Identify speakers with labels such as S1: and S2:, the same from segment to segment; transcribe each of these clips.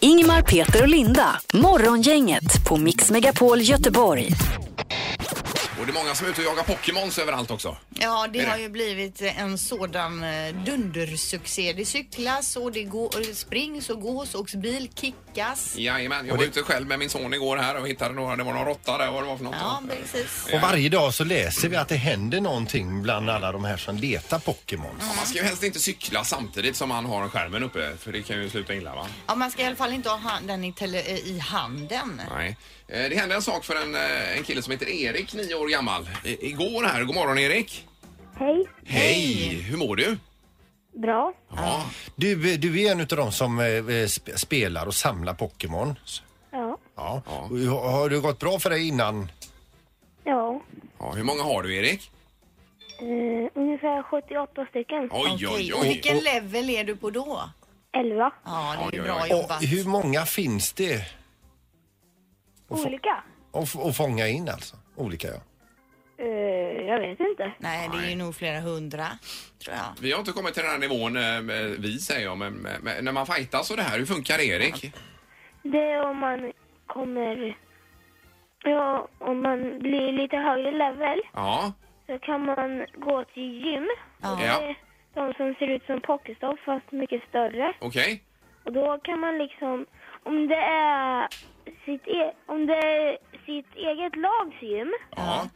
S1: Ingemar, Peter och Linda. Morgongänget på Mix Megapol Göteborg.
S2: Och det är många som är ute och jagar Pokémons överallt också.
S3: Ja, det
S2: Är det?
S3: har ju blivit en sådan eh, dundersuccé. Det cyklas och det går, och det springs och gås, åks bil, kickas.
S2: Jajamän, jag var ute själv med min son igår här och hittade några, det var någon råtta där, vad det var för något.
S3: Ja, precis.
S4: Och varje dag så läser vi att det händer någonting bland alla de här som letar Pokémons.
S2: Man ska ju helst inte cykla samtidigt som man har skärmen uppe för det kan ju sluta illa va?
S3: Ja, man ska i alla fall inte ha han- den i, tele, eh, i handen.
S2: Nej. Eh, Det hände en sak för en, eh, en kille som heter Erik, nio år gammal. I- Igår här, god morgon Erik.
S5: Hej.
S2: Hej! Hur mår du?
S5: Bra.
S2: Ja.
S4: Du, eh, du är en av de som eh, sp- spelar och samlar Pokémons.
S5: Ja.
S4: Ja. Och Har har det gått bra för dig innan?
S5: Ja.
S2: ja. Hur många har du Erik?
S5: Eh, ungefär 78 stycken.
S2: Oj,
S3: Okej,
S2: oj,
S3: och
S2: oj.
S3: vilken level är du på då?
S5: 11.
S3: Ja, det är
S2: Oj,
S3: ju
S2: oj,
S3: bra
S2: oj.
S3: jobbat.
S4: Och hur många finns det
S5: Olika?
S4: att f- att fånga in alltså? Olika ja.
S5: Eh, jag vet inte.
S3: Nej, det är ju nog flera hundra, tror jag.
S2: Vi har inte kommit till den här nivån, eh, vi säger jag, men, men när man fightas och det här, hur funkar det, Erik?
S5: Det är om man kommer... Ja, om man blir lite högre level
S2: Ja,
S5: så kan man gå till gym.
S3: Ja.
S2: Ja.
S5: Det är De som ser ut som pocketstopp fast mycket större.
S2: okej.
S5: Och då kan man liksom... Om det är sitt, e- om det är sitt eget lags gym
S2: Ja,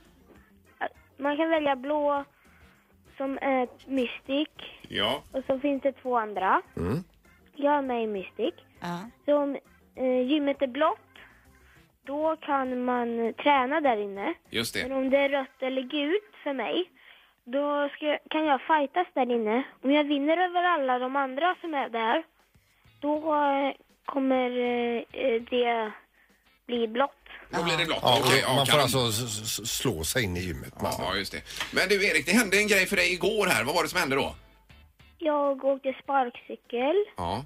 S5: Man kan välja blå som är Mystic
S2: ja,
S5: och så finns det två andra. Jag är med i Mystic.
S3: Ja.
S5: Så om eh, gymmet är blått då kan man träna där inne.
S2: just
S5: Men
S2: det.
S5: om det är rött eller gult för mig då ska, jag- kan jag fightas där inne. Om jag vinner över alla de andra som är där då eh, kommer eh, eh, det bli blått.
S2: Då blir det blått.
S4: Ja,
S2: Okej, ja,
S4: man får
S2: kanon.
S4: alltså s- s- slå sig in i gymmet.
S2: Ja, just det. Men du Erik, det hände en grej för dig igår här. Vad var det som hände då?
S5: Jag åkte sparkcykel.
S2: Ja.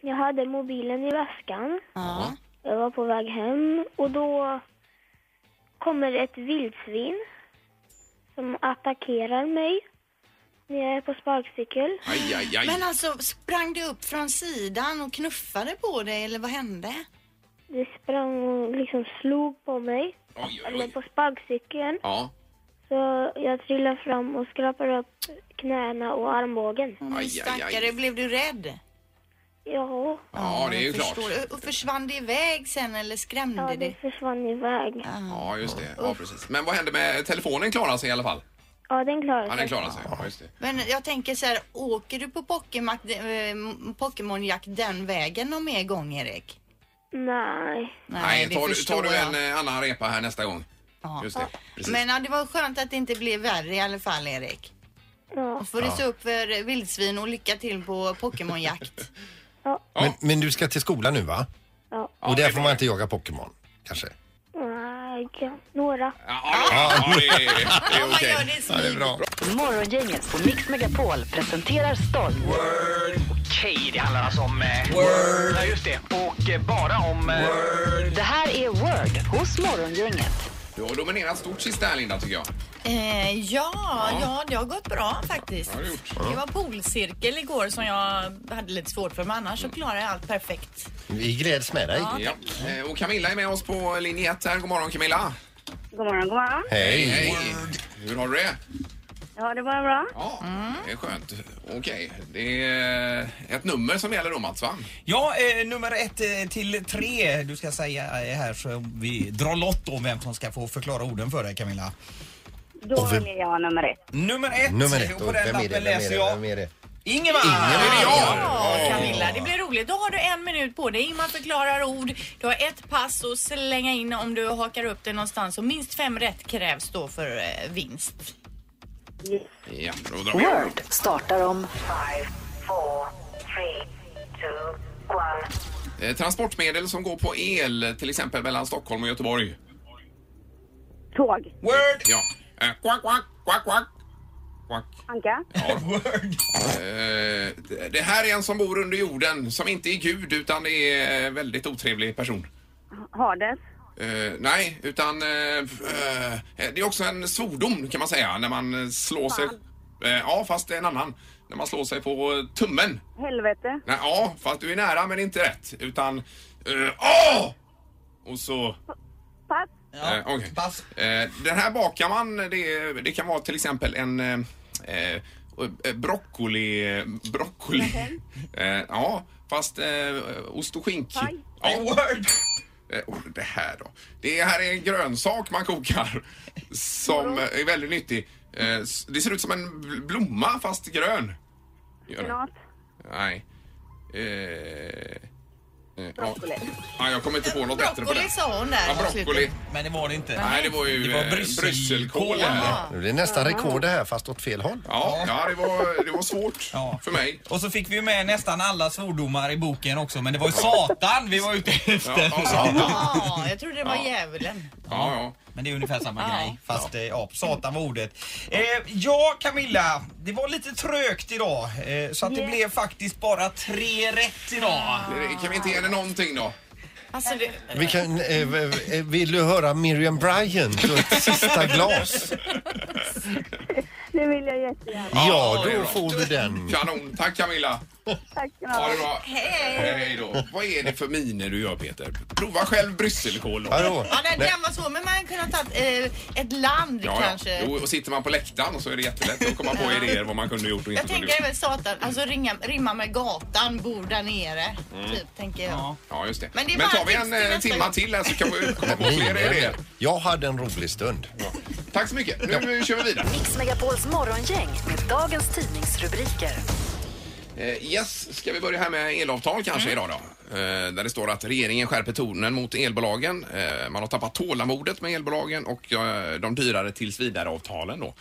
S5: Jag hade mobilen i väskan.
S3: Ja.
S5: Jag var på väg hem och då kommer ett vildsvin som attackerar mig när jag är på sparkcykel.
S2: Aj, aj, aj.
S3: Men alltså, sprang du upp från sidan och knuffade på dig eller vad hände?
S5: Det sprang och liksom slog på mig,
S2: Oj, oj,
S5: eller
S2: oj.
S5: på sparkcykeln.
S2: Ja,
S5: Så jag trillade fram och skrapade upp knäna och armbågen.
S3: Men
S2: aj, aj.
S3: Stackare, blev du rädd?
S5: Ja,
S2: ja, det är ju
S3: jag
S2: klart.
S3: förstår. Och- Och försvann det iväg sen eller skrämde
S5: ja Mm, det
S3: det?
S5: försvann iväg.
S2: Ja, just det. Ja, precis. Men vad hände med telefonen? Klarade sig i alla fall?
S5: Ja, den
S2: Ja,
S5: klarade
S2: den
S5: sig.
S2: klarade sig. Ja, just det.
S3: Men jag tänker så här, åker du på Pokémon- eh, Pokémonjakt den vägen någon mer gång, Erik?
S5: Nej.
S2: Nej, tar, du- tar du en
S3: jag.
S2: eh, annan repa här nästa gång?
S3: Ja.
S2: Just det. Precis.
S3: Men ja, det var skönt att det inte blev värre i alla fall, Erik.
S5: Ja,
S3: Och får du se upp för vildsvin och lycka till på Pokémonjakt.
S4: Men, men du ska till skolan nu va?
S5: ja.
S4: Och där får man inte jaga Pokémon. Kanske.
S5: Nej, ja. några.
S2: Ja, ja, det, ja, det, det är
S3: Om man
S2: okej.
S3: gör det i smyg.
S4: bra.
S1: Morgongänget på Mix Megapol presenterar stolt.
S6: Okej, det handlar alltså om... Eh, Word! Ja, just det. Och eh, bara om... Eh,
S1: Det här är Word hos Morgongänget.
S2: Du har dominerat stort sist där, Linda, tycker jag.
S7: Eh, ja, ja, det har gått bra faktiskt.
S2: Ja, det har gjort.
S7: Det var polcirkel igår som jag hade lite svårt för, men annars så klarade jag allt perfekt.
S4: Vi gläds med dig.
S2: Ja. Eh, Och Camilla är med oss på linje 1 här. God morgon, Camilla.
S8: God morgon, god morgon.
S4: Hej.
S2: Hej. Hur har du det?
S8: Ja, det var bra.
S2: Ja, det är skönt. Okej, det är ett nummer som gäller då Mats, va?
S9: Ja, eh, nummer ett eh, till tre du ska säga eh, här så vi drar lott om vem som ska få förklara orden för dig Camilla.
S8: Då
S4: Och vem-
S8: väljer jag nummer ett.
S9: Nummer ett,
S4: Nummer ett.
S9: och
S4: Och
S9: på den
S4: vem är det?
S9: lappen
S4: Vem är
S9: läser
S4: det?
S9: jag
S4: Vem är det?
S9: Ingemar!
S2: är jag!
S7: Ja, Camilla, det blir roligt. Då har du en minut på dig. Ingmar förklarar ord. Du har ett pass att slänga in om du hakar upp det någonstans. Och minst fem rätt krävs då för eh, vinst.
S2: Ja, då drar vi igång.
S1: Word startar om
S2: Eh, Transportmedel som går på el, till exempel mellan Stockholm och Göteborg.
S8: Tåg.
S9: Word!
S2: Ja. Eh, Quack, quack, quack, quack. Quack.
S8: Anka.
S9: Word!
S2: Eh, d- Det här är en som bor under jorden, som inte är Gud utan det är en väldigt otrevlig person.
S8: Hades.
S2: Eh, nej, utan eh, f- eh, det är också en svordom kan man säga när man eh, slår sig. Eh, ja, fast det är en annan. När man slår sig på tummen.
S8: Helvete.
S2: Nej, ja, fast du är nära men inte rätt. Utan... eh, Åh! och så...
S8: Pass.
S9: Ja.
S2: Eh, okej.
S9: Pass.
S2: Eh, den här bakar man. Det, det kan vara till exempel en eh, eh, broccoli... Broccoli... Eh, ja, fast eh, ost och skink. Ja,
S9: Word!
S2: eh, och det här då. Det här är en grönsak man kokar som eh, är väldigt nyttig. Eh, s- det ser ut som en bl- blomma fast grön. Gör det.
S8: Knat.
S2: Nej. Eh, eh, ja.
S8: Broccoli.
S2: Ja, jag kommer inte på något bättre på det.
S7: Broccoli sa hon där.
S2: Ja,
S7: mot
S2: broccoli.
S7: slutet.
S9: Men det var det inte.
S2: Nej, det var ju
S9: Det var
S2: eh,
S9: brysselkål.
S2: brysselkål. Ja,
S4: Det är nästan rekord det här fast åt fel håll.
S2: ja, ja det, var, det var svårt
S9: Ja.
S2: för mig.
S9: Och så fick vi ju med nästan alla svordomar i boken också, men det var ju Satan vi var ute efter.
S2: Ja, ja, satan.
S7: Ja, jag trodde det var djävulen.
S2: ja, ja.
S9: Men det är ungefär samma
S7: Ja.
S9: grej. Fast eh, ja, Satan var ordet. Eh, ja, Camilla. Det var lite trögt idag. Eh, så att det blev faktiskt bara tre rätt idag.
S2: Eh, Kan vi inte ge henne någonting då?
S7: Alltså, det,
S4: Vi kan, eh, v- eh, vill du höra Miriam Bryant och ett sista glas?
S8: Det vill jag jättegärna.
S4: Ja,
S2: det är
S4: då
S2: bra.
S4: får du den.
S2: Kanon. Tack Camilla.
S8: Tack ska ni
S2: Ha
S8: ha.
S2: det bra. Hej. Hej då. Vad är det för miner du gör Peter? Prova själv brysselkål då.
S4: Hallå?
S7: ja, den,
S4: Nej,
S7: den var svår, men man hade kunnat ta eh, ett land
S2: Ja,
S7: kanske.
S2: ja. Jo, och sitter man på läktaren så är det jättelätt att komma på idéer vad man kunde gjort och inte
S7: Jag
S2: kunde
S7: tänker
S2: gjort.
S7: även Satan, alltså ringa, rimma med gatan, bor där nere.
S2: Mm.
S7: Typ, tänker jag.
S9: Ja.
S2: Ja, just det.
S7: Men det är
S2: Men
S7: bara
S2: tar vi
S7: tips
S2: en
S7: till
S2: eh,
S7: nästa
S2: timma
S7: gång.
S2: till här så kan vi komma på fler idéer.
S4: Miner. Jag hade en rolig stund.
S2: Tack så mycket. Nu kör vi vidare.
S1: Mix Megapols morgongäng med dagens tidningsrubriker.
S2: Eh, Yes, ska vi börja här med elavtal
S7: Mm.
S2: kanske idag då? Eh, Där det står att regeringen skärper tonen mot elbolagen. Eh, Man har tappat tålamodet med elbolagen och eh, de dyrare tillsvidareavtalen då.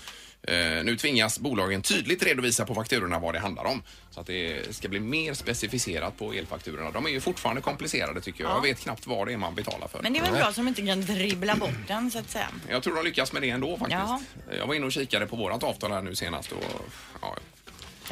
S2: Eh, Nu tvingas bolagen tydligt redovisa på fakturorna vad det handlar om. Så att det ska bli mer specificerat på elfakturorna. De är ju fortfarande komplicerade tycker jag. Jag vet knappt vad det är man betalar för.
S7: Men det är väl bra som inte kan dribbla bort den så att säga.
S2: Jag tror de lyckas med det ändå faktiskt.
S7: Jaha.
S2: Jag var inne och kikade på vårat avtal här nu senast och ja,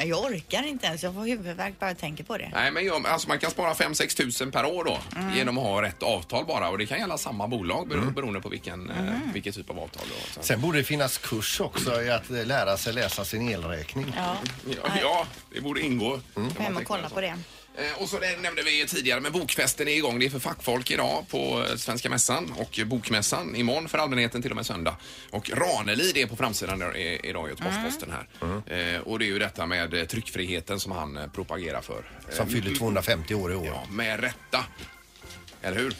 S7: Ja, Jag orkar inte ens, jag får huvudvärk bara jag tänker på det.
S2: Nej, men gör- alltså man kan spara 5-6 tusen per år då
S7: Mm.
S2: genom att ha rätt avtal bara och det kan gälla samma bolag bero- beroende på vilken, eh,
S7: Mm.
S2: vilken typ av avtal du har. Så-
S4: Sen borde det finnas kurs också i att eh, lära sig läsa sin elräkning.
S7: Ja,
S2: Ja, ja, det borde ingå.
S7: gå hem och kolla på det.
S2: Eh, Och så det nämnde vi ju tidigare, men bokfesten är igång. Det är för fackfolk idag på eh, Svenska mässan och bokmässan imorgon för allmänheten till och med söndag. Och Ranelid är på framsidan där i- idag i Göteborgs-Posten här. Eh, Och det är ju detta med eh, tryckfriheten som han eh, propagerar för. Eh,
S4: Som fyller 250 år i år.
S2: Ja, med rätta. Eller hur?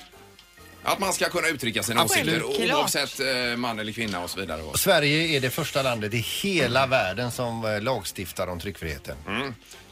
S2: Att man ska kunna uttrycka sina åsikter
S7: Självklart.
S2: oavsett eh, man eller kvinna och så vidare. Och-
S4: Sverige är det första landet i hela världen som eh, lagstiftar om tryckfriheten.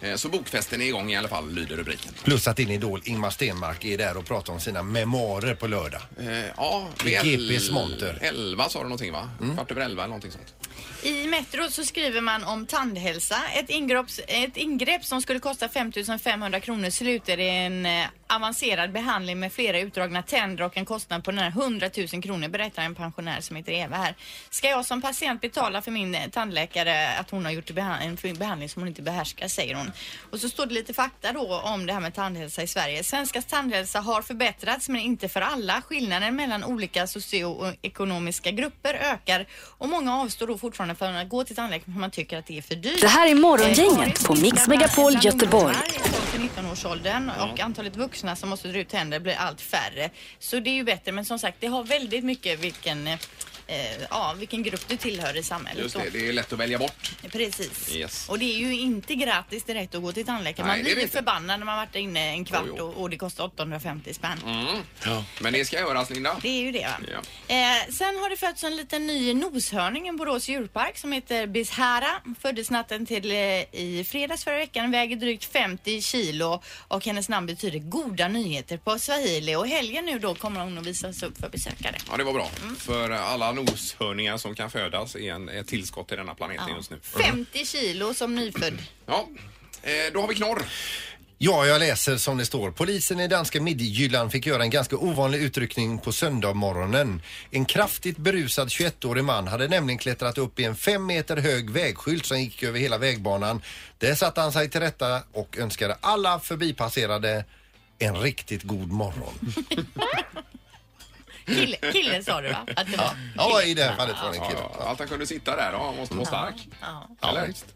S2: Eh, Så bokfesten är igång i alla fall, lyder rubriken.
S4: Plus att din idol Ingmar Stenmark är där och pratar om sina memoarer på lördag.
S2: Eh, Ja,
S4: I
S2: el-
S4: GPs monter.
S2: 11 sa du någonting va? Kvart över 11 eller någonting sånt.
S7: I Metro så skriver man om tandhälsa. Ett ingrepp, ett ingrepp som skulle kosta 5 500 kronor slutar i en eh, avancerad behandling med flera utdragna tänder och en kostnad på nära 100 000 kronor berättar en pensionär som heter Eva här. Ska jag som patient betala för min eh, tandläkare att hon har gjort beha- en för- behandling som hon inte behärskar säger hon. Och så står det lite fakta då om det här med tandhälsa i Sverige. Svenskas tandhälsa har förbättrats men inte för alla. Skillnaden mellan olika socioekonomiska grupper ökar och många avstår då fortfarande från att gå till tandläkaren för man tycker att det är för dyrt.
S1: Det här är Morgongänget
S7: Eh, Karin
S1: på Mix
S7: sitter bland-
S1: Megapol
S7: bland
S1: Göteborg.
S7: ungdomar i 12-19-årsåldern och antalet vuxna som måste dra ut tänder blir allt färre. Så det är ju bättre men som sagt det har väldigt mycket vilken, eh, ja, vilken grupp du tillhör i samhället.
S2: Just
S7: då.
S2: det, det är lätt att välja bort.
S7: Precis.
S2: Yes.
S7: Och det är ju inte gratis direkt att gå till tandläkaren.
S2: Nej,
S7: Man
S2: det är
S7: blir
S2: det
S7: ju
S2: inte.
S7: förbannad när man varit där inne en kvart
S2: Jo, jo.
S7: Och, och det kostar 850 spänn.
S2: Men det ska göras Linda.
S7: Det är ju det va?
S2: Ja.
S7: Eh, sen har det fötts en liten ny noshörning i Borås djurpark som heter Bishara. Föddes natten till eh, i fredags förra veckan, väger drygt 50 kilo och hennes namn betyder goda nyheter på swahili och helgen nu då kommer hon att visas upp för besökare.
S2: Ja, det var bra. För alla noshörningar som kan födas är en, ett tillskott till denna planeten just nu. Mm.
S7: 50 kilo som nyfödd.
S2: Ja, eh, då har vi knorr.
S4: Ja, jag läser som det står. Polisen i danska Midtjylland fick göra en ganska ovanlig utryckning på söndagmorgonen. En kraftigt berusad 21-årig man hade nämligen klättrat upp i en fem meter hög vägskylt som gick över hela vägbanan. Där satte han sig till rätta och önskade alla förbipasserade en riktigt god morgon.
S7: Kille, kille sa du va? Att det var.
S4: Ja, i det här fallet var det en kille.
S2: Ja, att han kunde sitta där, ja, han måste vara stark.
S7: Ja.
S2: Eller?
S4: visst.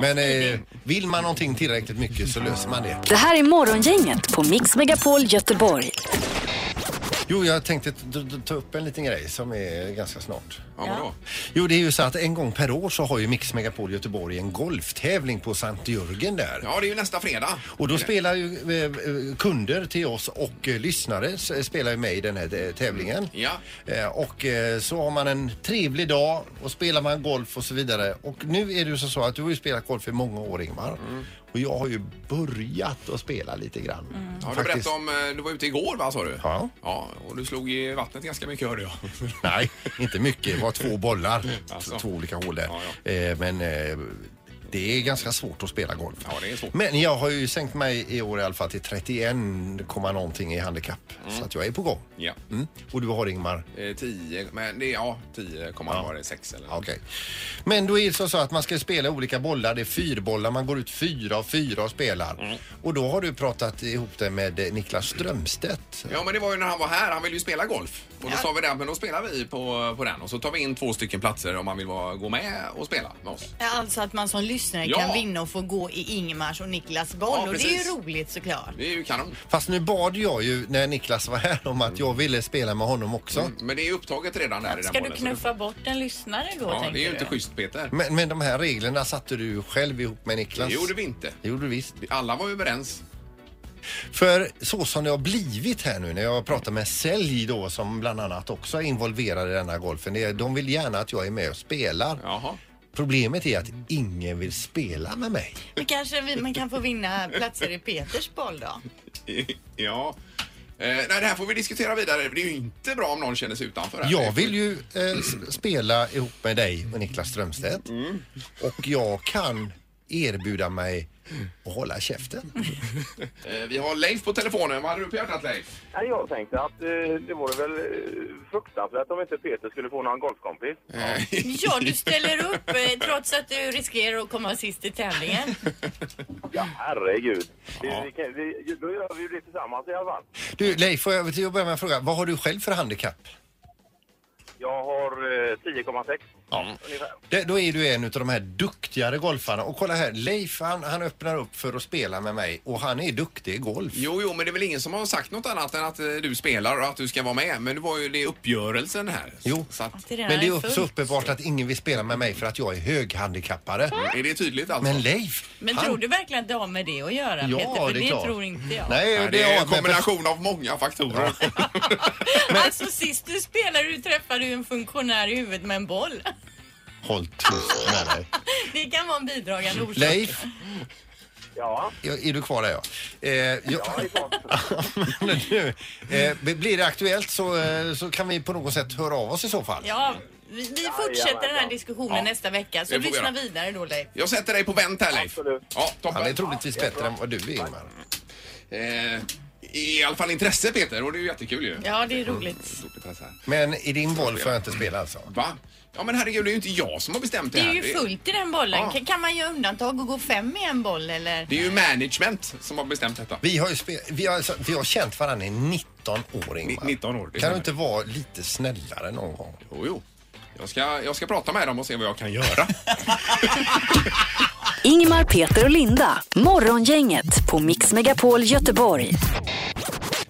S4: Men eh, vill man någonting tillräckligt mycket så löser man det.
S1: Det här är Morgongänget på Mix Megapol Göteborg.
S4: Jo, jag tänkte t- t- ta upp en liten grej som är ganska snart.
S2: Ja, vadå?
S4: Jo, det är ju så att en gång per år så har ju Mix Megapol Göteborg en golftävling på Sankt Jörgen där.
S2: Ja, det är ju nästa fredag.
S4: Och då spelar ju eh, eh, kunder till oss och eh, lyssnare s- spelar ju med i den här eh, tävlingen.
S2: Ja.
S4: Eh, och eh, så har man en trevlig dag och spelar man golf och så vidare. Och nu är det ju så- så att du har ju spelat golf i många år Ingmar.
S2: Mm.
S4: Och jag har ju börjat att spela lite grann.
S2: Ja, du
S4: Faktiskt.
S2: berättade om, eh, du var ute igår va, sa du?
S4: Ja.
S2: Ja, och du slog i vattnet ganska mycket hörde jag.
S4: Nej, inte mycket. Det var två bollar.
S2: Alltså.
S4: Två olika hål där.
S2: Ja,
S4: Eh, Men eh, det är ganska svårt att spela golf.
S2: Ja, det är svårt.
S4: Men jag har ju sänkt mig i år i alla fall till 31, komma någonting i handikapp. Så att jag är på gång.
S2: Mm. Ja.
S4: Mm. Och du har Ingmar?
S2: Eh, 10, men det är ja, 10,6 eller
S4: Ja, Okej. Men då är det så- så att man ska spela olika bollar. Det är fyrbollar. Man går ut fyra och fyra och spelar.
S2: Mm.
S4: Och då har du pratat ihop det med eh, Niklas Strömstedt.
S2: Ja, men det var ju när han var här. Han ville ju spela golf. Och då sa vi det, men då spelar vi på, på den. Och så tar vi in två stycken platser om man vill vara, gå med och spela med oss.
S7: Ja, Alltså att man som lyssnare
S2: Ja.
S7: kan vinna och få gå i Ingmars och Niklas boll.
S2: Ja,
S7: och det är
S2: precis.
S7: ju roligt såklart.
S2: Det är ju kanon.
S4: Fast nu bad jag ju när Niklas var här om att jag ville spela med honom också.
S2: Men det är upptaget redan där i den
S10: Ska du
S2: bollen, så
S10: knuffa bort en lyssnare då,
S2: Ja,
S10: tänker
S2: det är ju
S10: du?
S2: inte schysst Peter.
S4: Men, men de här reglerna satte du själv ihop med
S2: Det
S4: Niklas?
S2: gjorde vi inte.
S4: Det gjorde du visst.
S2: Alla var överens.
S4: För så som det har blivit här nu när jag pratar med Sälj då som bland annat också är involverad i denna golfen. Det är, de vill gärna att jag är med och spelar.
S2: Jaha.
S4: Problemet är att ingen vill spela med mig.
S7: Men kanske vi, man kan få vinna platser i Peters boll då?
S2: ja. Eh, nej, det här får vi diskutera vidare. Det är ju inte bra om någon känner sig utanför. Här.
S4: Jag vill ju eh, s- spela ihop med dig och Niklas Strömstedt.
S2: Mm.
S4: Och jag kan erbjuda mig att hålla käften.
S2: Eh, vi har Leif på telefonen. Vad hade du på hjärtat Leif?
S11: Nej, jag tänkte att eh, det vore väl eh, fruktansvärt om inte Peter skulle få någon golfkompis.
S10: Ja, du ställer upp eh, trots att du riskerar att komma sist i tävlingen.
S11: Ja, herregud. Det, vi kan, vi, då gör vi ju det tillsammans i alla fall.
S4: Du Leif, får jag, jag börjar med en fråga. Vad har du själv för handikapp?
S11: Jag har eh, 10,6 ungefär.
S4: Det, då är du en av de här duktigare golfarna. Och kolla här, Leif han, han öppnar upp för att spela med mig och han är duktig i golf.
S2: Jo, jo, men det är väl ingen som har sagt något annat än att eh, du spelar och att du ska vara med. Men det var ju det uppgörelsen här.
S4: Jo.
S2: Så att,
S10: Det är redan
S4: Men det är
S10: fullt.
S4: också uppenbart att ingen vill spela med mig för att jag är höghandikappare.
S2: är det tydligt alltså?
S4: Men Leif,
S10: Men
S4: han...
S10: tror du verkligen att det har med det att göra,
S4: Ja,
S10: Peter? För
S4: det
S10: det,
S4: är klart.
S10: tror inte jag.
S4: Nej,
S2: Nej,
S4: det
S2: det är en
S4: har jag med...
S2: kombination av många faktorer.
S10: Alltså sist du spelade du träffade du en funktionär i huvudet med en boll.
S4: Håll tyst med dig.
S10: Det kan vara en bidragande orsak.
S4: Leif,
S11: Ja,
S4: är är du kvar där ja? Eh, jag...
S11: ja, det är klart.
S4: Men du, eh, blir det aktuellt så, eh, så kan vi på något sätt höra av oss i så fall.
S10: Ja, vi, vi fortsätter den här diskussionen
S2: Ja.
S10: nästa vecka. Så
S2: Det får vi
S10: lyssna
S2: göra.
S10: vidare då Leif.
S2: Jag sätter dig på vänt här Leif.
S11: Absolut.
S2: Ja, toppen.
S4: Han är troligtvis bättre än vad du är Ingmar.
S2: Eh, I alla fall intresse Peter och det är ju jättekul ju.
S10: Ja, det är roligt.
S2: Stort intresse här.
S4: Men i din golf får jag inte spela alltså?
S2: Va? Ja men herregud, det är ju inte jag som har bestämt det,
S10: Det är
S2: här.
S10: ju fullt i den bollen.
S2: Ja.
S10: Kan, kan man göra undantag och gå fem i en boll eller?
S2: Det är ju management som har bestämt detta.
S4: Vi har ju spe- vi har, alltså, vi har känt varandra i 19 år Ingmar.
S2: Ni- 19 år, det
S4: Kan
S2: stämmer.
S4: du inte vara lite snällare någon gång?
S2: Jo, jo. Jag ska, jag ska prata med dem och se vad jag kan göra.
S1: Ingmar, Peter och Linda. Morgongänget på Mix Megapol Göteborg.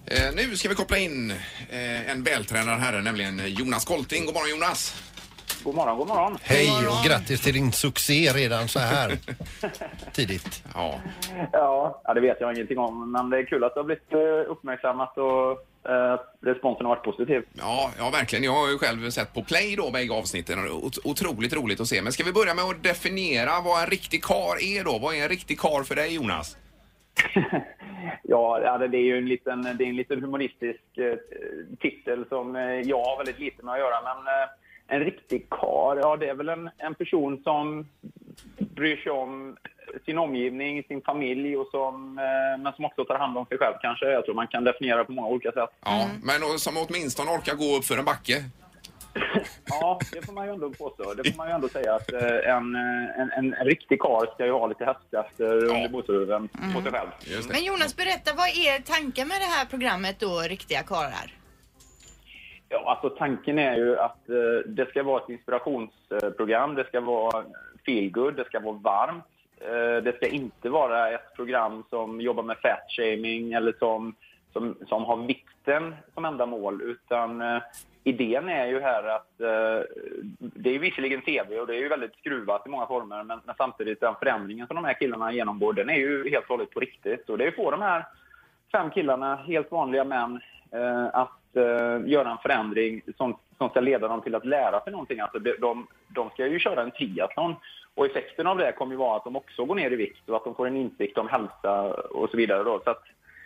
S2: eh, nu ska vi koppla in eh, en vältränad herre, nämligen Jonas Kolting. God morgon Jonas!
S11: God morgon, god morgon.
S4: Hej och grattis till din succé redan så här tidigt.
S2: Ja,
S11: Ja, ja, det vet jag ingenting om, men det är kul att det har blivit eh, uppmärksammat och eh, att responsen har varit positiv.
S2: ja, ja verkligen. Jag har ju själv sett på play då bägge avsnitten. och det är ot- Otroligt roligt att se. Men ska vi börja med att definiera vad en riktig kar är då? Vad är en riktig kar för dig Jonas?
S11: Ja, ja, det det är ju en liten, det är en liten humoristisk eh, titel som eh, jag har väldigt lite med att göra. Men eh, en riktig kar, ja det är väl en, en person som bryr sig om sin omgivning, sin familj och som, eh, men som också tar hand om sig själv kanske. Jag tror man kan definiera det på många olika sätt.
S2: Ja, men och- som åtminstone orkar gå upp för en backe.
S11: Ja, det får man ju ändå påstå. Det får man ju ändå säga att eh, en, eh, en, en, en riktig kar ska ju ha lite hästkrafter under motorhuven på sig själv.
S2: Just det.
S7: Men Jonas, berätta vad är tanken med det här programmet då, Riktiga karlar?
S11: Ja, alltså tanken är ju att eh, det ska vara ett inspirationsprogram, det ska vara feel good, det ska vara varmt. Eh, Det ska inte vara ett program som jobbar med fatshaming eller som, som, som har vikten som enda mål, utan eh, idén är ju här att eh, det är ju visserligen tv och det är ju väldigt skruvat i många former, men, men samtidigt den förändringen som de här killarna genomgår, den är ju helt och hållet på riktigt. Och det är ju få de här fem killarna, helt vanliga män, eh, att eh, göra en förändring som, som ska leda dem till att lära sig någonting. Alltså de, de, de ska ju köra en triathlon och effekten av det kommer ju vara att de också går ner i vikt och att de får en insikt om hälsa och så vidare. Då. Så att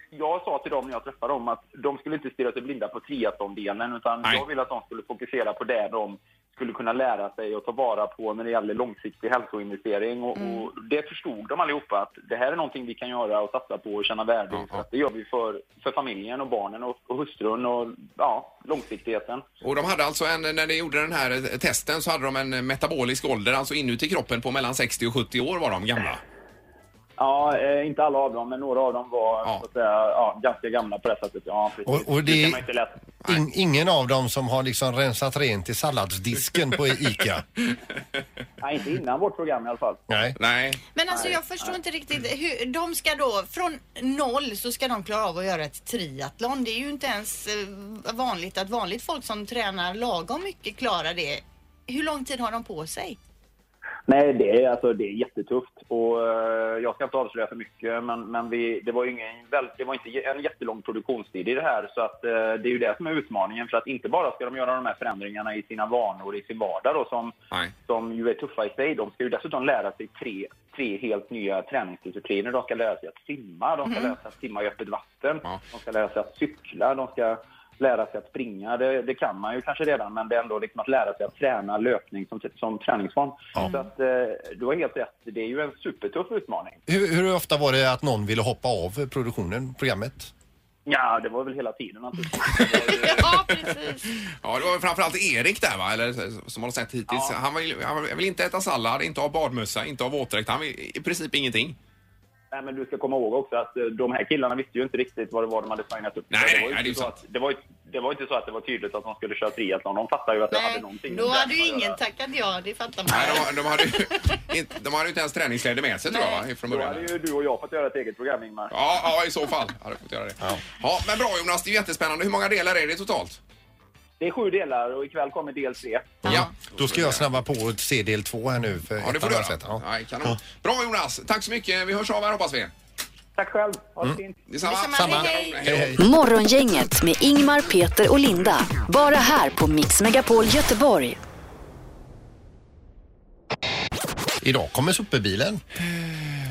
S11: jag sa till dem när jag träffade dem att de skulle inte stirra sig blinda på triathlon-delen utan jag ville att de skulle fokusera på det de skulle kunna lära sig och ta vara på när det gäller långsiktig hälsoinvestering. Och,
S4: Mm.
S11: och det förstod de allihopa att det här är någonting vi kan göra och satsa på och känna värde i. För att det gör vi för, för familjen och barnen och, och hustrun och ja, långsiktigheten.
S2: Och de hade alltså en, när de gjorde den här eh, testen så hade de en metabolisk ålder, alltså inuti kroppen på mellan 60 och 70 år var de gamla.
S11: Ja, eh, inte alla av dem, men några av dem var så att säga, ja, ganska gamla på det sättet. Ja, precis.
S4: Och- och det-
S11: kan man inte läsa.
S4: In, ingen av dem som har liksom rensat rent i salladsdisken på ICA.
S11: Nej, inte innan vårt program i alla fall.
S4: Nej.
S2: Nej.
S7: Men alltså jag förstår inte riktigt hur de ska då, från noll så ska de klara av att göra ett triathlon. Det är ju inte ens eh, vanligt att vanligt folk som tränar lagom mycket klarar det. Hur lång tid har de på sig?
S11: Nej, det är, alltså, det är jättetufft. Och, eh, jag ska inte avslöja för mycket, men, men vi, det, var ju ingen, väl, det var inte j- en jättelång produktionstid i det här. Så att, eh, det är ju det som är utmaningen. För att inte bara ska de göra de här förändringarna i sina vanor, i sin vardag då, som, som ju är tuffa i sig. De ska ju dessutom lära sig tre, tre helt nya träningsdiscipliner. De ska lära sig att simma, de ska
S12: Mhm.
S11: lära sig att simma i öppet vatten, de ska lära sig att cykla, de ska lära sig att springa. Det, det kan man ju kanske redan, men det är ändå liksom att lära sig att träna löpning som, som träningsform. Så att, eh, du har helt rätt, det är ju en supertuff utmaning.
S4: Hur, hur ofta var det att någon ville hoppa av produktionen, programmet?
S11: Ja, det var väl hela tiden naturligtvis.
S2: Ja, det var framförallt Erik där va, eller eh, som har sett hittills. Han, vill, han vill inte äta sallad, inte ha badmössa, inte ha våtdräkt. Han vill i princip ingenting.
S11: Nej, men du ska komma ihåg också att eh, de här killarna visste ju inte riktigt vad det var de hade signat upp
S2: Nej,
S11: det var ju
S2: nej, det är
S11: inte så att, det, var, ju- det var ju inte så att det var tydligt att de skulle köra triathlon. De fattade ju att det hade någonting
S7: Då
S11: med
S7: hade ju
S11: träning att
S7: ingen
S11: göra.
S7: tackat ja, det fattar man.
S2: Nej, de, de, hade ju, inte, de hade ju inte ens träningskläder med sig tror jag va, från
S11: Då
S2: början.
S11: hade ju du och jag fått göra ett eget program, Ingmar.
S2: Ja, ja, i så fall hade jag fått göra det. Ja. men bra Jonas, det är ju jättespännande. Hur många delar är det totalt?
S11: Det är sju delar och ikväll kommer del tre.
S2: Ja.
S4: Då ska jag snabba på och se del två här nu. För
S2: Ja, det får du göra. Nej, kanon. Bra Jonas, tack så mycket. Vi hörs av här hoppas vi.
S11: Tack själv. Ha
S2: Mm.
S11: det fint.
S2: Detsamma.
S1: Detsamma. Morgongänget med Ingmar, Peter och Linda. Bara här på Mix Megapol Göteborg.
S4: Idag kommer sopbilen,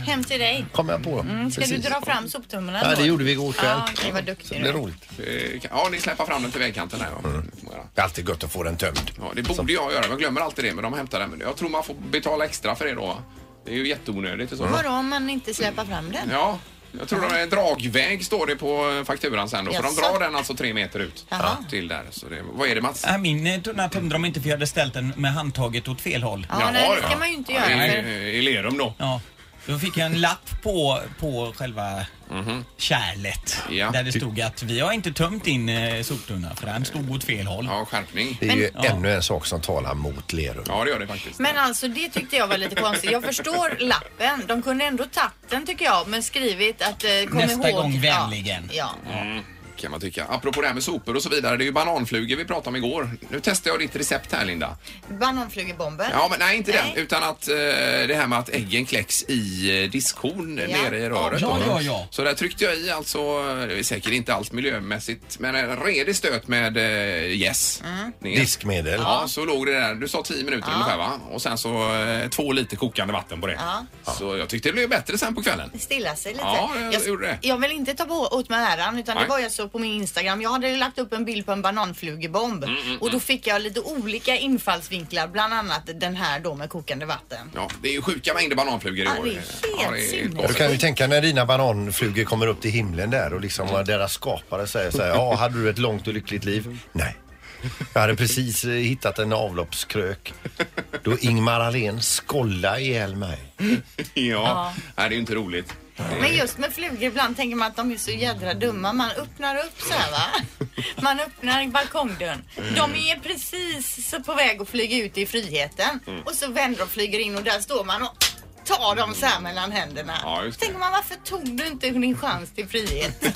S7: Hem till dig.
S4: kommer jag på.
S7: Mm, ska du
S4: Precis.
S7: dra fram soptunnorna?
S4: Ja,
S7: då?
S4: det gjorde vi igår kväll.
S7: Ja, okej, vad duktig
S4: Det
S7: du
S4: blir
S7: är.
S4: roligt.
S2: Eh, Ja, ni släpar fram den till vägkanten här. Ja.
S4: Det är alltid gött att få den tömd.
S2: Ja, det borde jag göra. Jag glömmer alltid det, men de hämtar den. Men Jag tror man får betala extra för det då. Det är ju jätteonödigt. och Så.
S7: Vadå om man inte släpar fram den?
S2: Ja, jag tror det är dragväg står det på fakturan sen då. För de
S7: Jaså?
S2: drar den alltså tre meter ut till där. Så det, vad är det Mats?
S9: Nej, Min eh, tunna tömde de inte för jag hade ställt den med handtaget åt fel håll.
S7: Ja, nej, det ska man ju inte göra.
S2: I,
S7: för-
S2: I Lerum då.
S9: Ja. Då fick jag en lapp på, på själva kärlet där det stod att vi har inte tömt in eh, soptunna för den stod åt fel håll.
S2: Ja, skärpning.
S4: Det är ju ännu en sak som talar mot Lerum.
S2: Ja, det gör det faktiskt.
S7: Men alltså det tyckte jag var lite konstigt. Jag förstår lappen. De kunde ändå tagit den tycker jag men skrivit att eh, kom
S2: Nästa
S7: ihåg.
S2: gång vänligen.
S7: Ja.
S2: Mm, kan man tycka. Apropå det här med sopor och så vidare. Det är ju bananflugor vi pratade om igår. Nu testar jag ditt recept här Linda.
S7: ja. Bananflugebomben.
S2: Ja, men nej inte den. Utan att eh, det här med att äggen kläcks i eh, diskhon
S7: Ja.
S2: nere i röret.
S9: Ja,
S2: då.
S9: ja, ja.
S2: Så där tryckte jag i alltså, eh, det är säkert inte allt miljömässigt, men en redig stöt med eh, gäss.
S7: Mm.
S2: ner.
S4: Diskmedel.
S2: Ja, så låg det där. Du sa 10 minuter ungefär va? Och sen så eh, två liter kokande vatten på det.
S7: Ja.
S2: Så jag tyckte det blev bättre sen på kvällen.
S7: Stilla sig lite.
S2: Ja, jag gjorde det.
S7: jag vill inte ta på, åt mig äran utan
S2: Nej.
S7: det var jag så på min Instagram. Jag hade lagt upp en bild på en bananflugebomb
S2: Mm, mm,
S7: och då
S2: mm.
S7: fick jag lite olika infallsvinklar bland annat den här då med kokande vatten.
S2: Ja, det är ju sjuka mängder bananflugor i
S7: Ja,
S2: år.
S7: det är helt sinnes.
S4: Jag kan ju tänka när dina bananflugor kommer upp till himlen där och liksom vad deras skapare säger så här, ja hade du ett långt och lyckligt liv? Nej. Jag hade precis eh, hittat en avloppskrök då Ingmar Ahlén skollade ihjäl mig.
S2: Ja, Nej, det är ju inte roligt.
S7: Men just med flugor ibland tänker man att de är så jädra dumma. Man öppnar upp så här va. Man öppnar balkongdörren. De är precis så på väg att flyga ut i friheten.
S2: Mm.
S7: Och så vänder de och flyger in och där står man och
S3: ta dem så här mellan händerna.
S2: Ja, just det.
S3: Tänker man varför tog du inte din chans till frihet?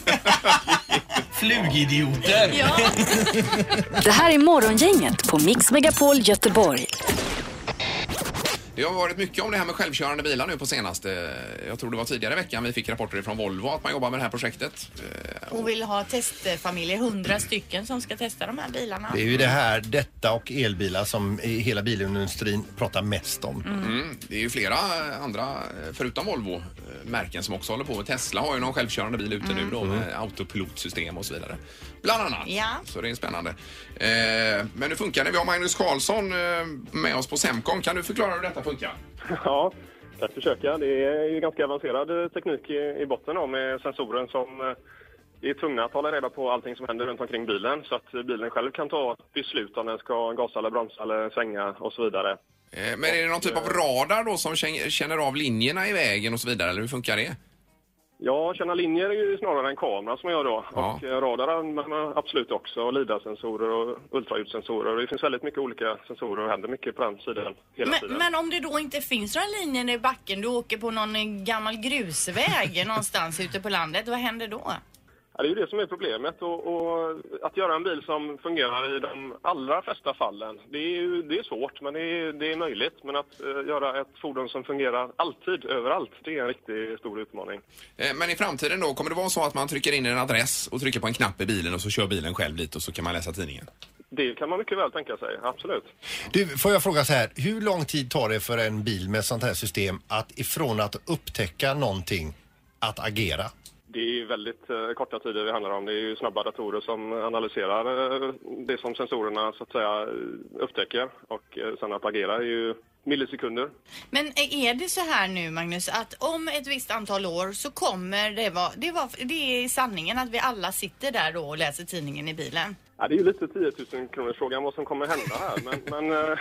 S9: Flugidioter!
S1: Det här är Morgongänget på Mix Megapol Göteborg.
S2: Det har varit mycket om det här med självkörande bilar nu på senaste. Jag tror det var tidigare i veckan vi fick rapporter från Volvo att man jobbar med det här projektet. Eh,
S7: Och vill ha testfamiljer, hundra stycken som ska testa de här bilarna.
S4: Det är ju det här, detta och elbilar som i hela bilindustrin pratar mest om.
S2: Mm. Det är ju flera andra, eh, förutom Volvo, eh, märken som också håller på. Tesla har ju någon självkörande bil ute nu då med autopilotsystem och så vidare. Bland annat.
S7: Mm. Ja.
S2: Så det är spännande. Eh, men hur funkar det? Vi har Magnus Karlsson eh, med oss på Semcon. Kan du förklara hur detta funkar?
S12: Ja, jag försöka. Det är ju ganska avancerad eh, teknik i, i botten då, med sensorer som eh, är tvungna att hålla reda på allting som händer runt omkring bilen så att eh, bilen själv kan ta beslut om den ska gasa eller bromsa eller svänga och så vidare.
S2: Eh, Men är det någon typ av radar då som känner- känner av linjerna i vägen och så vidare? Eller hur funkar det?
S12: Ja, känna linjer är ju snarare en kamera som jag då. Och eh, radar använder man absolut också, och LIDAR-sensorer och ultraljudssensorer. Det finns väldigt mycket olika sensorer och händer mycket på den sidan hela
S7: Men,
S12: tiden.
S7: men om det då inte finns några linjer i backen, du åker på någon eh, gammal grusväg någonstans ute på landet, vad händer då?
S12: Ja, det är ju det som är problemet. Och, och att göra en bil som fungerar i de allra flesta fallen, det är, ju, det är svårt, men det är, det är möjligt. Men att eh, göra ett fordon som fungerar alltid, överallt, det är en riktigt stor utmaning.
S2: Eh, Men i framtiden då, kommer det vara så att man trycker in en adress och trycker på en knapp i bilen och så kör bilen själv dit och så kan man läsa tidningen?
S12: Det kan man mycket väl tänka sig, absolut.
S4: Du, får jag fråga så här, hur lång tid tar det för en bil med sånt här system att ifrån att upptäcka någonting, att agera?
S12: Det är ju väldigt eh, korta tider vi handlar om. Det är ju snabba datorer som analyserar eh, det som sensorerna så att säga eh, upptäcker. Och eh, sen att agera är ju millisekunder.
S7: Men är det så här nu Magnus att om ett visst antal år så kommer det vara, det, var, det är sanningen att vi alla sitter där då och läser tidningen i bilen.
S12: Ja, det är ju lite 10 000 kronors frågan vad som kommer hända här. Men, men eh,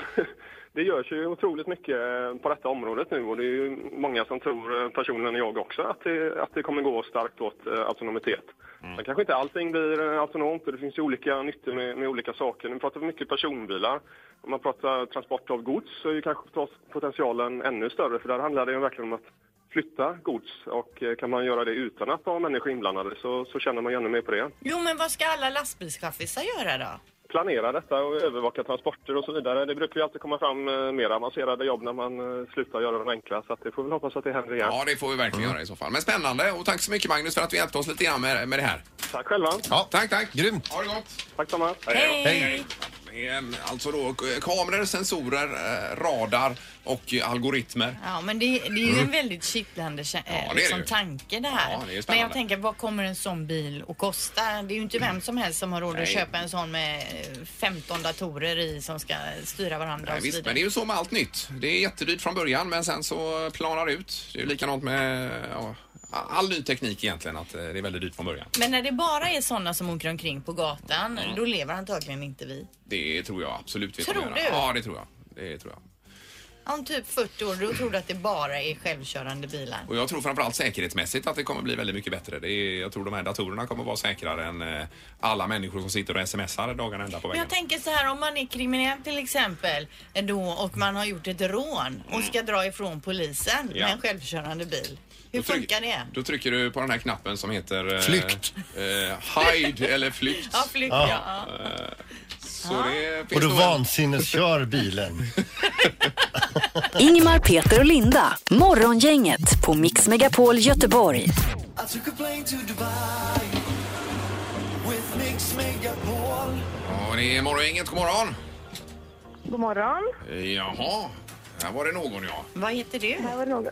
S12: det görs ju otroligt mycket eh, på detta området nu och det är ju många som tror, eh, personligen jag också, att det, att det kommer gå starkt åt eh, autonomitet. Men kanske inte allting blir eh, autonomt och det finns ju olika nyttor med, med olika saker. Nu pratar vi mycket personbilar. Om man pratar transport av gods så är ju kanske pot- potentialen ännu större för där handlar det ju verkligen om att flytta gods och eh, kan man göra det utan att ha människor inblandade så, så känner man ju ännu mer på det
S7: Jo men vad ska alla lastbilschaffisar göra då?
S12: planera detta och övervaka transporter och så vidare. Det brukar ju alltid komma fram eh, mer avancerade jobb när man eh, slutar göra de enkla. Så att det får vi hoppas att det händer igen.
S2: Ja, det får vi verkligen
S7: Mm.
S2: göra i så fall. Men spännande och tack så mycket Magnus för att du hjälpte oss lite grann med, med det här.
S12: Tack själva.
S2: Ja. Tack, tack. Grymt. Ha det gott. Tack samma. Alltså då eh, kameror, sensorer, eh, radar och eh, algoritmer.
S7: Ja men det, det är ju en väldigt kittlande kä-
S2: Mm. det är det
S7: liksom,
S2: ju.
S7: tanke det här.
S2: Ja, det är
S7: men
S2: spännande.
S7: jag tänker vad kommer en sån bil att kosta? Det är ju inte vem som helst som har råd att
S2: Nej.
S7: köpa en sån med eh, 15 datorer i som ska styra varandra
S2: Nej,
S7: och så
S2: visst,
S7: vidare.
S2: men det är ju så med allt nytt. Det är jättedyrt från början men sen så planar det ut. Det är ju likadant med ja, all ny teknik egentligen att eh, det är väldigt dyrt från början.
S7: Men när det bara är sådana som åker omkring på gatan,
S2: Mm.
S7: då lever antagligen inte vi.
S2: Det tror jag absolut vi
S7: Tror
S2: kommer
S7: du?
S2: göra. Ja, det tror jag. Det tror jag.
S7: Om typ 40 år, då tror du att det bara är självkörande bilar.
S2: Och jag tror framförallt säkerhetsmässigt att det kommer bli väldigt mycket bättre. Det är, jag tror de här datorerna kommer vara säkrare än eh, alla människor som sitter och smsar dagarna ända på
S7: Men
S2: vägen.
S7: jag tänker så här, om man är kriminell till exempel eh, då, och man har gjort ett rån och ska dra ifrån polisen
S2: Ja.
S7: med en självkörande bil. Hur
S2: Då tryck-
S7: funkar det?
S2: Då trycker du på den här knappen som heter... eh,
S4: Flykt.
S2: Eh, hide eller flykt.
S7: Ja, flykt, ja. ja.
S2: Eh, Så det
S4: Och
S2: finns
S4: du
S2: nog en-
S4: vansinneskör bilen.
S1: Ingmar, Peter och Linda. Morgongänget på Mix Megapol Göteborg.
S13: I took a plane to Dubai with Mix Megapol.
S2: Ja, det är morgongänget. God morgon!
S8: God morgon.
S2: Jaha, här var det någon ja.
S7: Vad heter du?
S8: Här var det någon.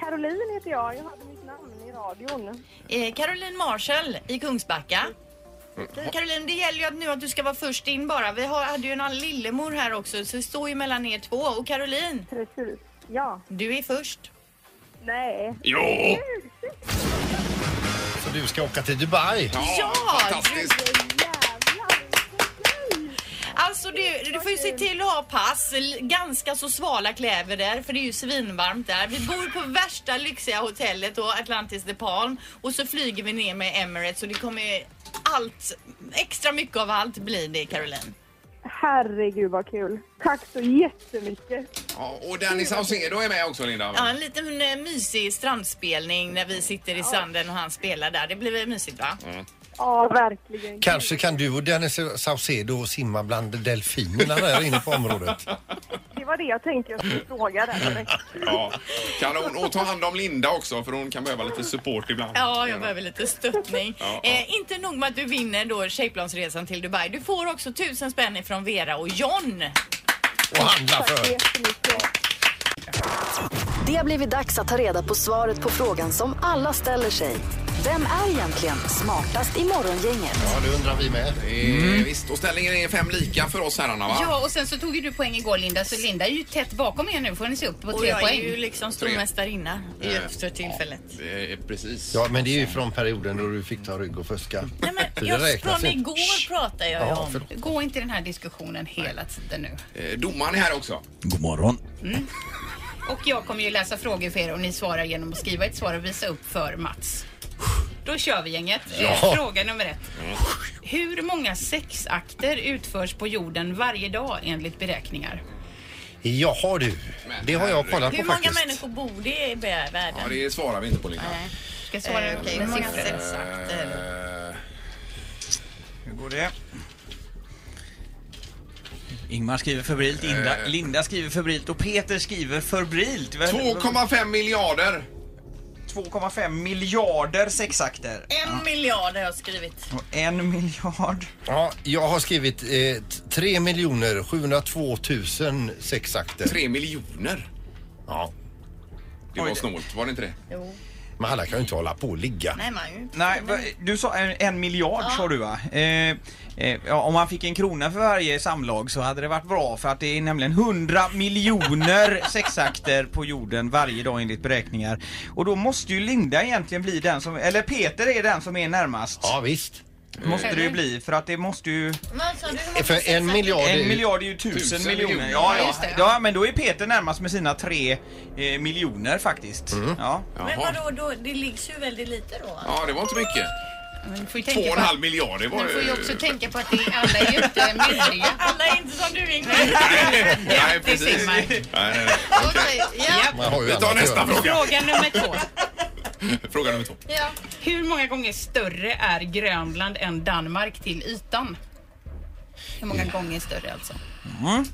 S8: Caroline heter jag. Jag hörde mitt namn i radion.
S7: Eh, Caroline Marshall i Kungsbacka. Mm. Eh, Caroline, det gäller ju att nu att du ska vara först in bara. Vi har, hade ju en annan lillemor här också, så det står ju mellan er två. Och Caroline?
S8: Precis, ja.
S7: Du är först.
S8: Nej.
S2: Jo!
S4: Så du ska åka till Dubai?
S7: Ja! Alltså du, du får ju se till att ha pass, l- ganska så svala kläder där för det är ju svinvarmt där. Vi bor på värsta lyxiga hotellet då, Atlantis de Palm och så flyger vi ner med Emirates och det kommer ju allt, extra mycket av allt blir det Caroline.
S8: Herregud vad kul. Tack så jättemycket.
S2: Ja, och Danny Saucedo är med också, Linda.
S7: Ja, en liten eh, mysig strandspelning när vi sitter i sanden och han spelar där. Det blir väl mysigt va?
S8: Ja, verkligen.
S4: Kanske kan du och Dennis Saucedo simma bland delfinerna där inne på området.
S8: Det var det jag tänkte jag skulle fråga där. direkt.
S2: Ja, kanon. Och ta hand om Linda också för hon kan behöva lite support ibland.
S7: Ja, jag behöver lite stöttning.
S2: Ja, ja.
S7: Eh, inte nog med att du vinner då tjejplansresan till Dubai. Du får också tusen spänn ifrån Vera och John.
S4: Och handla för.
S1: Det har blivit dags att ta reda på svaret på frågan som alla ställer sig. Vem är egentligen smartast i Morgongänget?
S4: Ja, det undrar vi med.
S2: Eh, Visst, och ställningen är fem lika för oss herrarna va?
S14: Ja, och sen så tog ju du poäng igår Linda, så Linda är ju tätt bakom er nu. får ni se upp på
S7: Och
S14: tre
S7: jag är
S14: poäng.
S7: ju liksom stormästarinna
S2: Eh,
S7: efter tillfället.
S2: Eh, precis.
S4: Ja, men det är ju från perioden då du fick ta rygg och fuska. Nej, men,
S14: Just från igår pratar jag ju
S2: Ja,
S14: om. Gå inte i den här diskussionen hela tiden nu.
S2: Eh, domaren är här också.
S15: God morgon.
S14: Mm. Och jag kommer ju läsa frågor för er och ni svarar genom att skriva ett svar och visa upp för Mats. Då kör vi gänget. Eh,
S15: Ja.
S14: Fråga nummer ett. Hur många sexakter utförs på jorden varje dag enligt beräkningar?
S4: Jaha du, det har jag kollat
S7: Hur
S4: på
S7: många
S4: faktiskt.
S7: människor bor det i världen?
S2: Ja, det svarar vi inte på Linda.
S7: Nej.
S14: Ska jag svara
S7: Eh,
S14: okej
S7: hur
S14: med
S7: många
S14: siffror?
S2: Eh,
S9: Hur går det?
S15: Ingmar skriver febrilt, Linda,
S9: Eh.
S15: Linda skriver febrilt och Peter skriver febrilt.
S2: 2,5 miljarder.
S9: 2,5 miljarder sexakter.
S7: En miljard har jag skrivit.
S9: Och en miljard.
S4: Ja, jag har skrivit eh, 3 miljoner 702 000 sexakter.
S2: 3 miljoner?
S4: Ja.
S2: Det var snålt, var det inte det?
S7: Jo.
S4: Men alla kan ju inte hålla på och ligga.
S7: Nej, man ju.
S9: Nej, va- du sa en, en miljard
S7: Ja.
S9: sa du va? Eh, eh, ja, om man fick en krona för varje samlag så hade det varit bra för att det är nämligen 100 miljoner sexakter på jorden varje dag enligt beräkningar. Och då måste ju Linda egentligen bli den som, eller Peter är den som är närmast.
S4: Ja visst. Eh,
S9: Måste det ju bli för att det måste ju...
S7: Men sa du hur många
S4: För en miljard är
S9: En
S4: ju...
S9: miljard är ju tusen,
S4: Tusen
S9: miljoner.
S4: miljoner.
S9: Ja,
S4: Ja,
S9: ja.
S4: just
S9: Ja,
S4: det,
S9: men då är Peter närmast med sina tre eh, miljoner faktiskt.
S4: Mm.
S9: Ja.
S7: Men vadå, då, det ligger ju väldigt lite då?
S2: Ja, det var inte mycket.
S14: Men du får ju tänka på-
S2: 2,5 miljarder var
S14: Du får ju också
S2: det.
S14: tänka på att det, alla är ju inte myndiga.
S7: Alla är inte som du Ingmar.
S2: Nej, precis.
S14: Ingmar.
S2: Nej, nej, nej.
S14: Okej,
S4: Man har ju
S2: Vi tar
S4: annat att
S2: nästa
S4: göra.
S2: fråga.
S14: Fråga nummer två.
S2: Fråga nummer två.
S14: Hur många gånger större är Grönland än Danmark till ytan? Hur många gånger större alltså?
S9: Mm.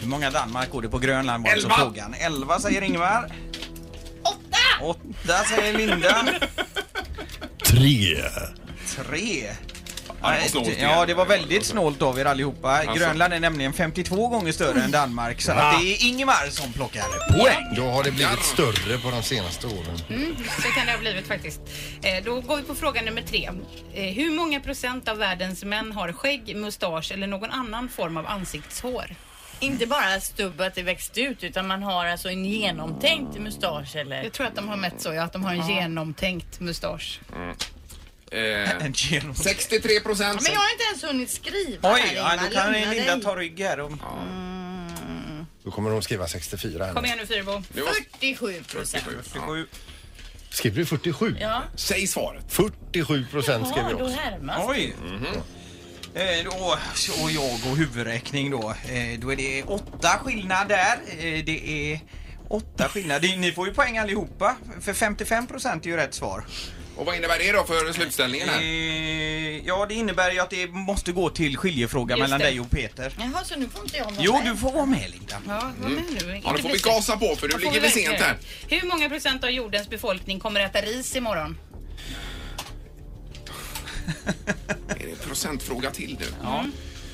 S9: Hur många Danmark går det på Grönland var alltså
S14: Elva.
S9: frågan? Elva säger Ingvar. Åtta! Åtta säger Linda.
S4: Tre.
S9: Tre.
S15: Ja, det var snålt igen.
S9: Ja, det var väldigt snålt av er allihopa.
S4: Alltså.
S9: Grönland är nämligen 52 gånger större än Danmark så
S4: Va?
S9: att det är Ingmar som plockar poäng.
S4: Då har det blivit större på de senaste åren.
S14: Mm, så kan det ha blivit faktiskt. Eh, Då går vi på fråga nummer tre. Eh, Hur många procent av världens män har skägg, mustasch eller någon annan form av ansiktshår?
S7: Inte bara stubb att det växte ut utan man har alltså en genomtänkt mustasch eller?
S14: Jag tror att de har mätt så, ja, att de har en genomtänkt mustasch.
S2: Eh, 63 procent.
S7: Men jag har inte ens hunnit skriva
S9: Oj,
S7: här,
S9: ja,
S7: Ingmar.
S9: då kan
S7: Lugna
S9: Linda
S7: dig.
S9: ta rygg här. Och...
S4: Då kommer de skriva 64 här.
S14: Kom igen nu Fyrbo.
S7: 47 procent.
S9: 47.
S4: Skriver du 47?
S7: Ja.
S2: Säg svaret.
S4: 47 procent skrev
S7: Jaha,
S4: jag
S7: då
S4: också.
S7: härmas
S9: Oj! Alltså, mm-hmm. Eh, då, så jag och huvudräkning då. Eh, då är det åtta skillnad där. Eh, det är åtta skillnad. Det- Ni får ju poäng allihopa. För 55% är ju rätt svar.
S2: Och vad innebär det då för slutställningen här?
S14: Mm.
S9: Eh, ja, det innebär ju att det måste gå till skiljefråga
S2: Just
S9: mellan
S2: det.
S9: dig och Peter.
S7: Jaha, så nu får inte jag vara
S9: Jo,
S14: med.
S9: du får vara med Linda.
S14: Ja, vad
S9: Mm.
S14: menar du?
S9: Ja, då får vi
S14: Inte bli-
S9: gasa på, för
S14: Då
S9: nu
S14: får
S9: ligger vi
S14: verkligen
S9: sent här.
S14: det. Hur många procent av jordens befolkning kommer äta ris imorgon?
S2: Är det en procentfråga till nu?
S14: Ja.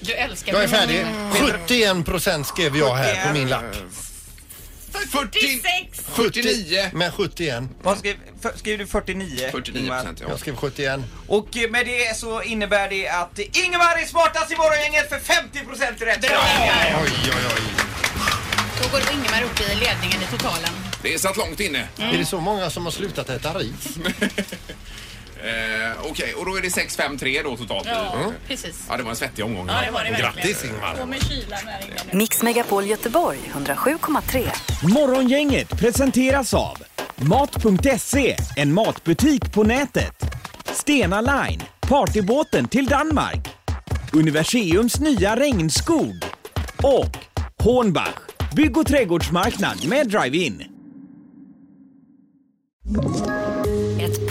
S14: Du älskar Mm.
S4: Jag är färdig. 71 procent skrev jag här på min lapp.
S7: 46!
S4: 49. Men 71.
S9: Vad skrev, för, skrev du 49? 49 procent,
S4: Jag skrev 71.
S9: Och eh, med det så innebär det att Ingemar är smartast i morgongänget för 50% rätt. Bra!
S4: Oj, oj, oj.
S14: Då går Ingemar upp i ledningen i totalen.
S2: Det är satt långt inne.
S4: Är det så många som har slutat äta ris?
S2: Eh, Okej, och då är det 6-5-3 då totalt.
S14: Ja,
S2: Mm.
S14: precis.
S2: Ja, det var en svettig omgång.
S14: Ja, det var det verkligen.
S2: Grattis Ingmar.
S14: med kylan här
S1: Mix Megapol Göteborg 107,3.
S16: Morgongänget presenteras av Mat.se, en matbutik på nätet. Stena Line, partybåten till Danmark.
S11: Universiums nya regnskog och Hornbach, bygg och trädgårdsmarknad med drive-in.
S1: Ett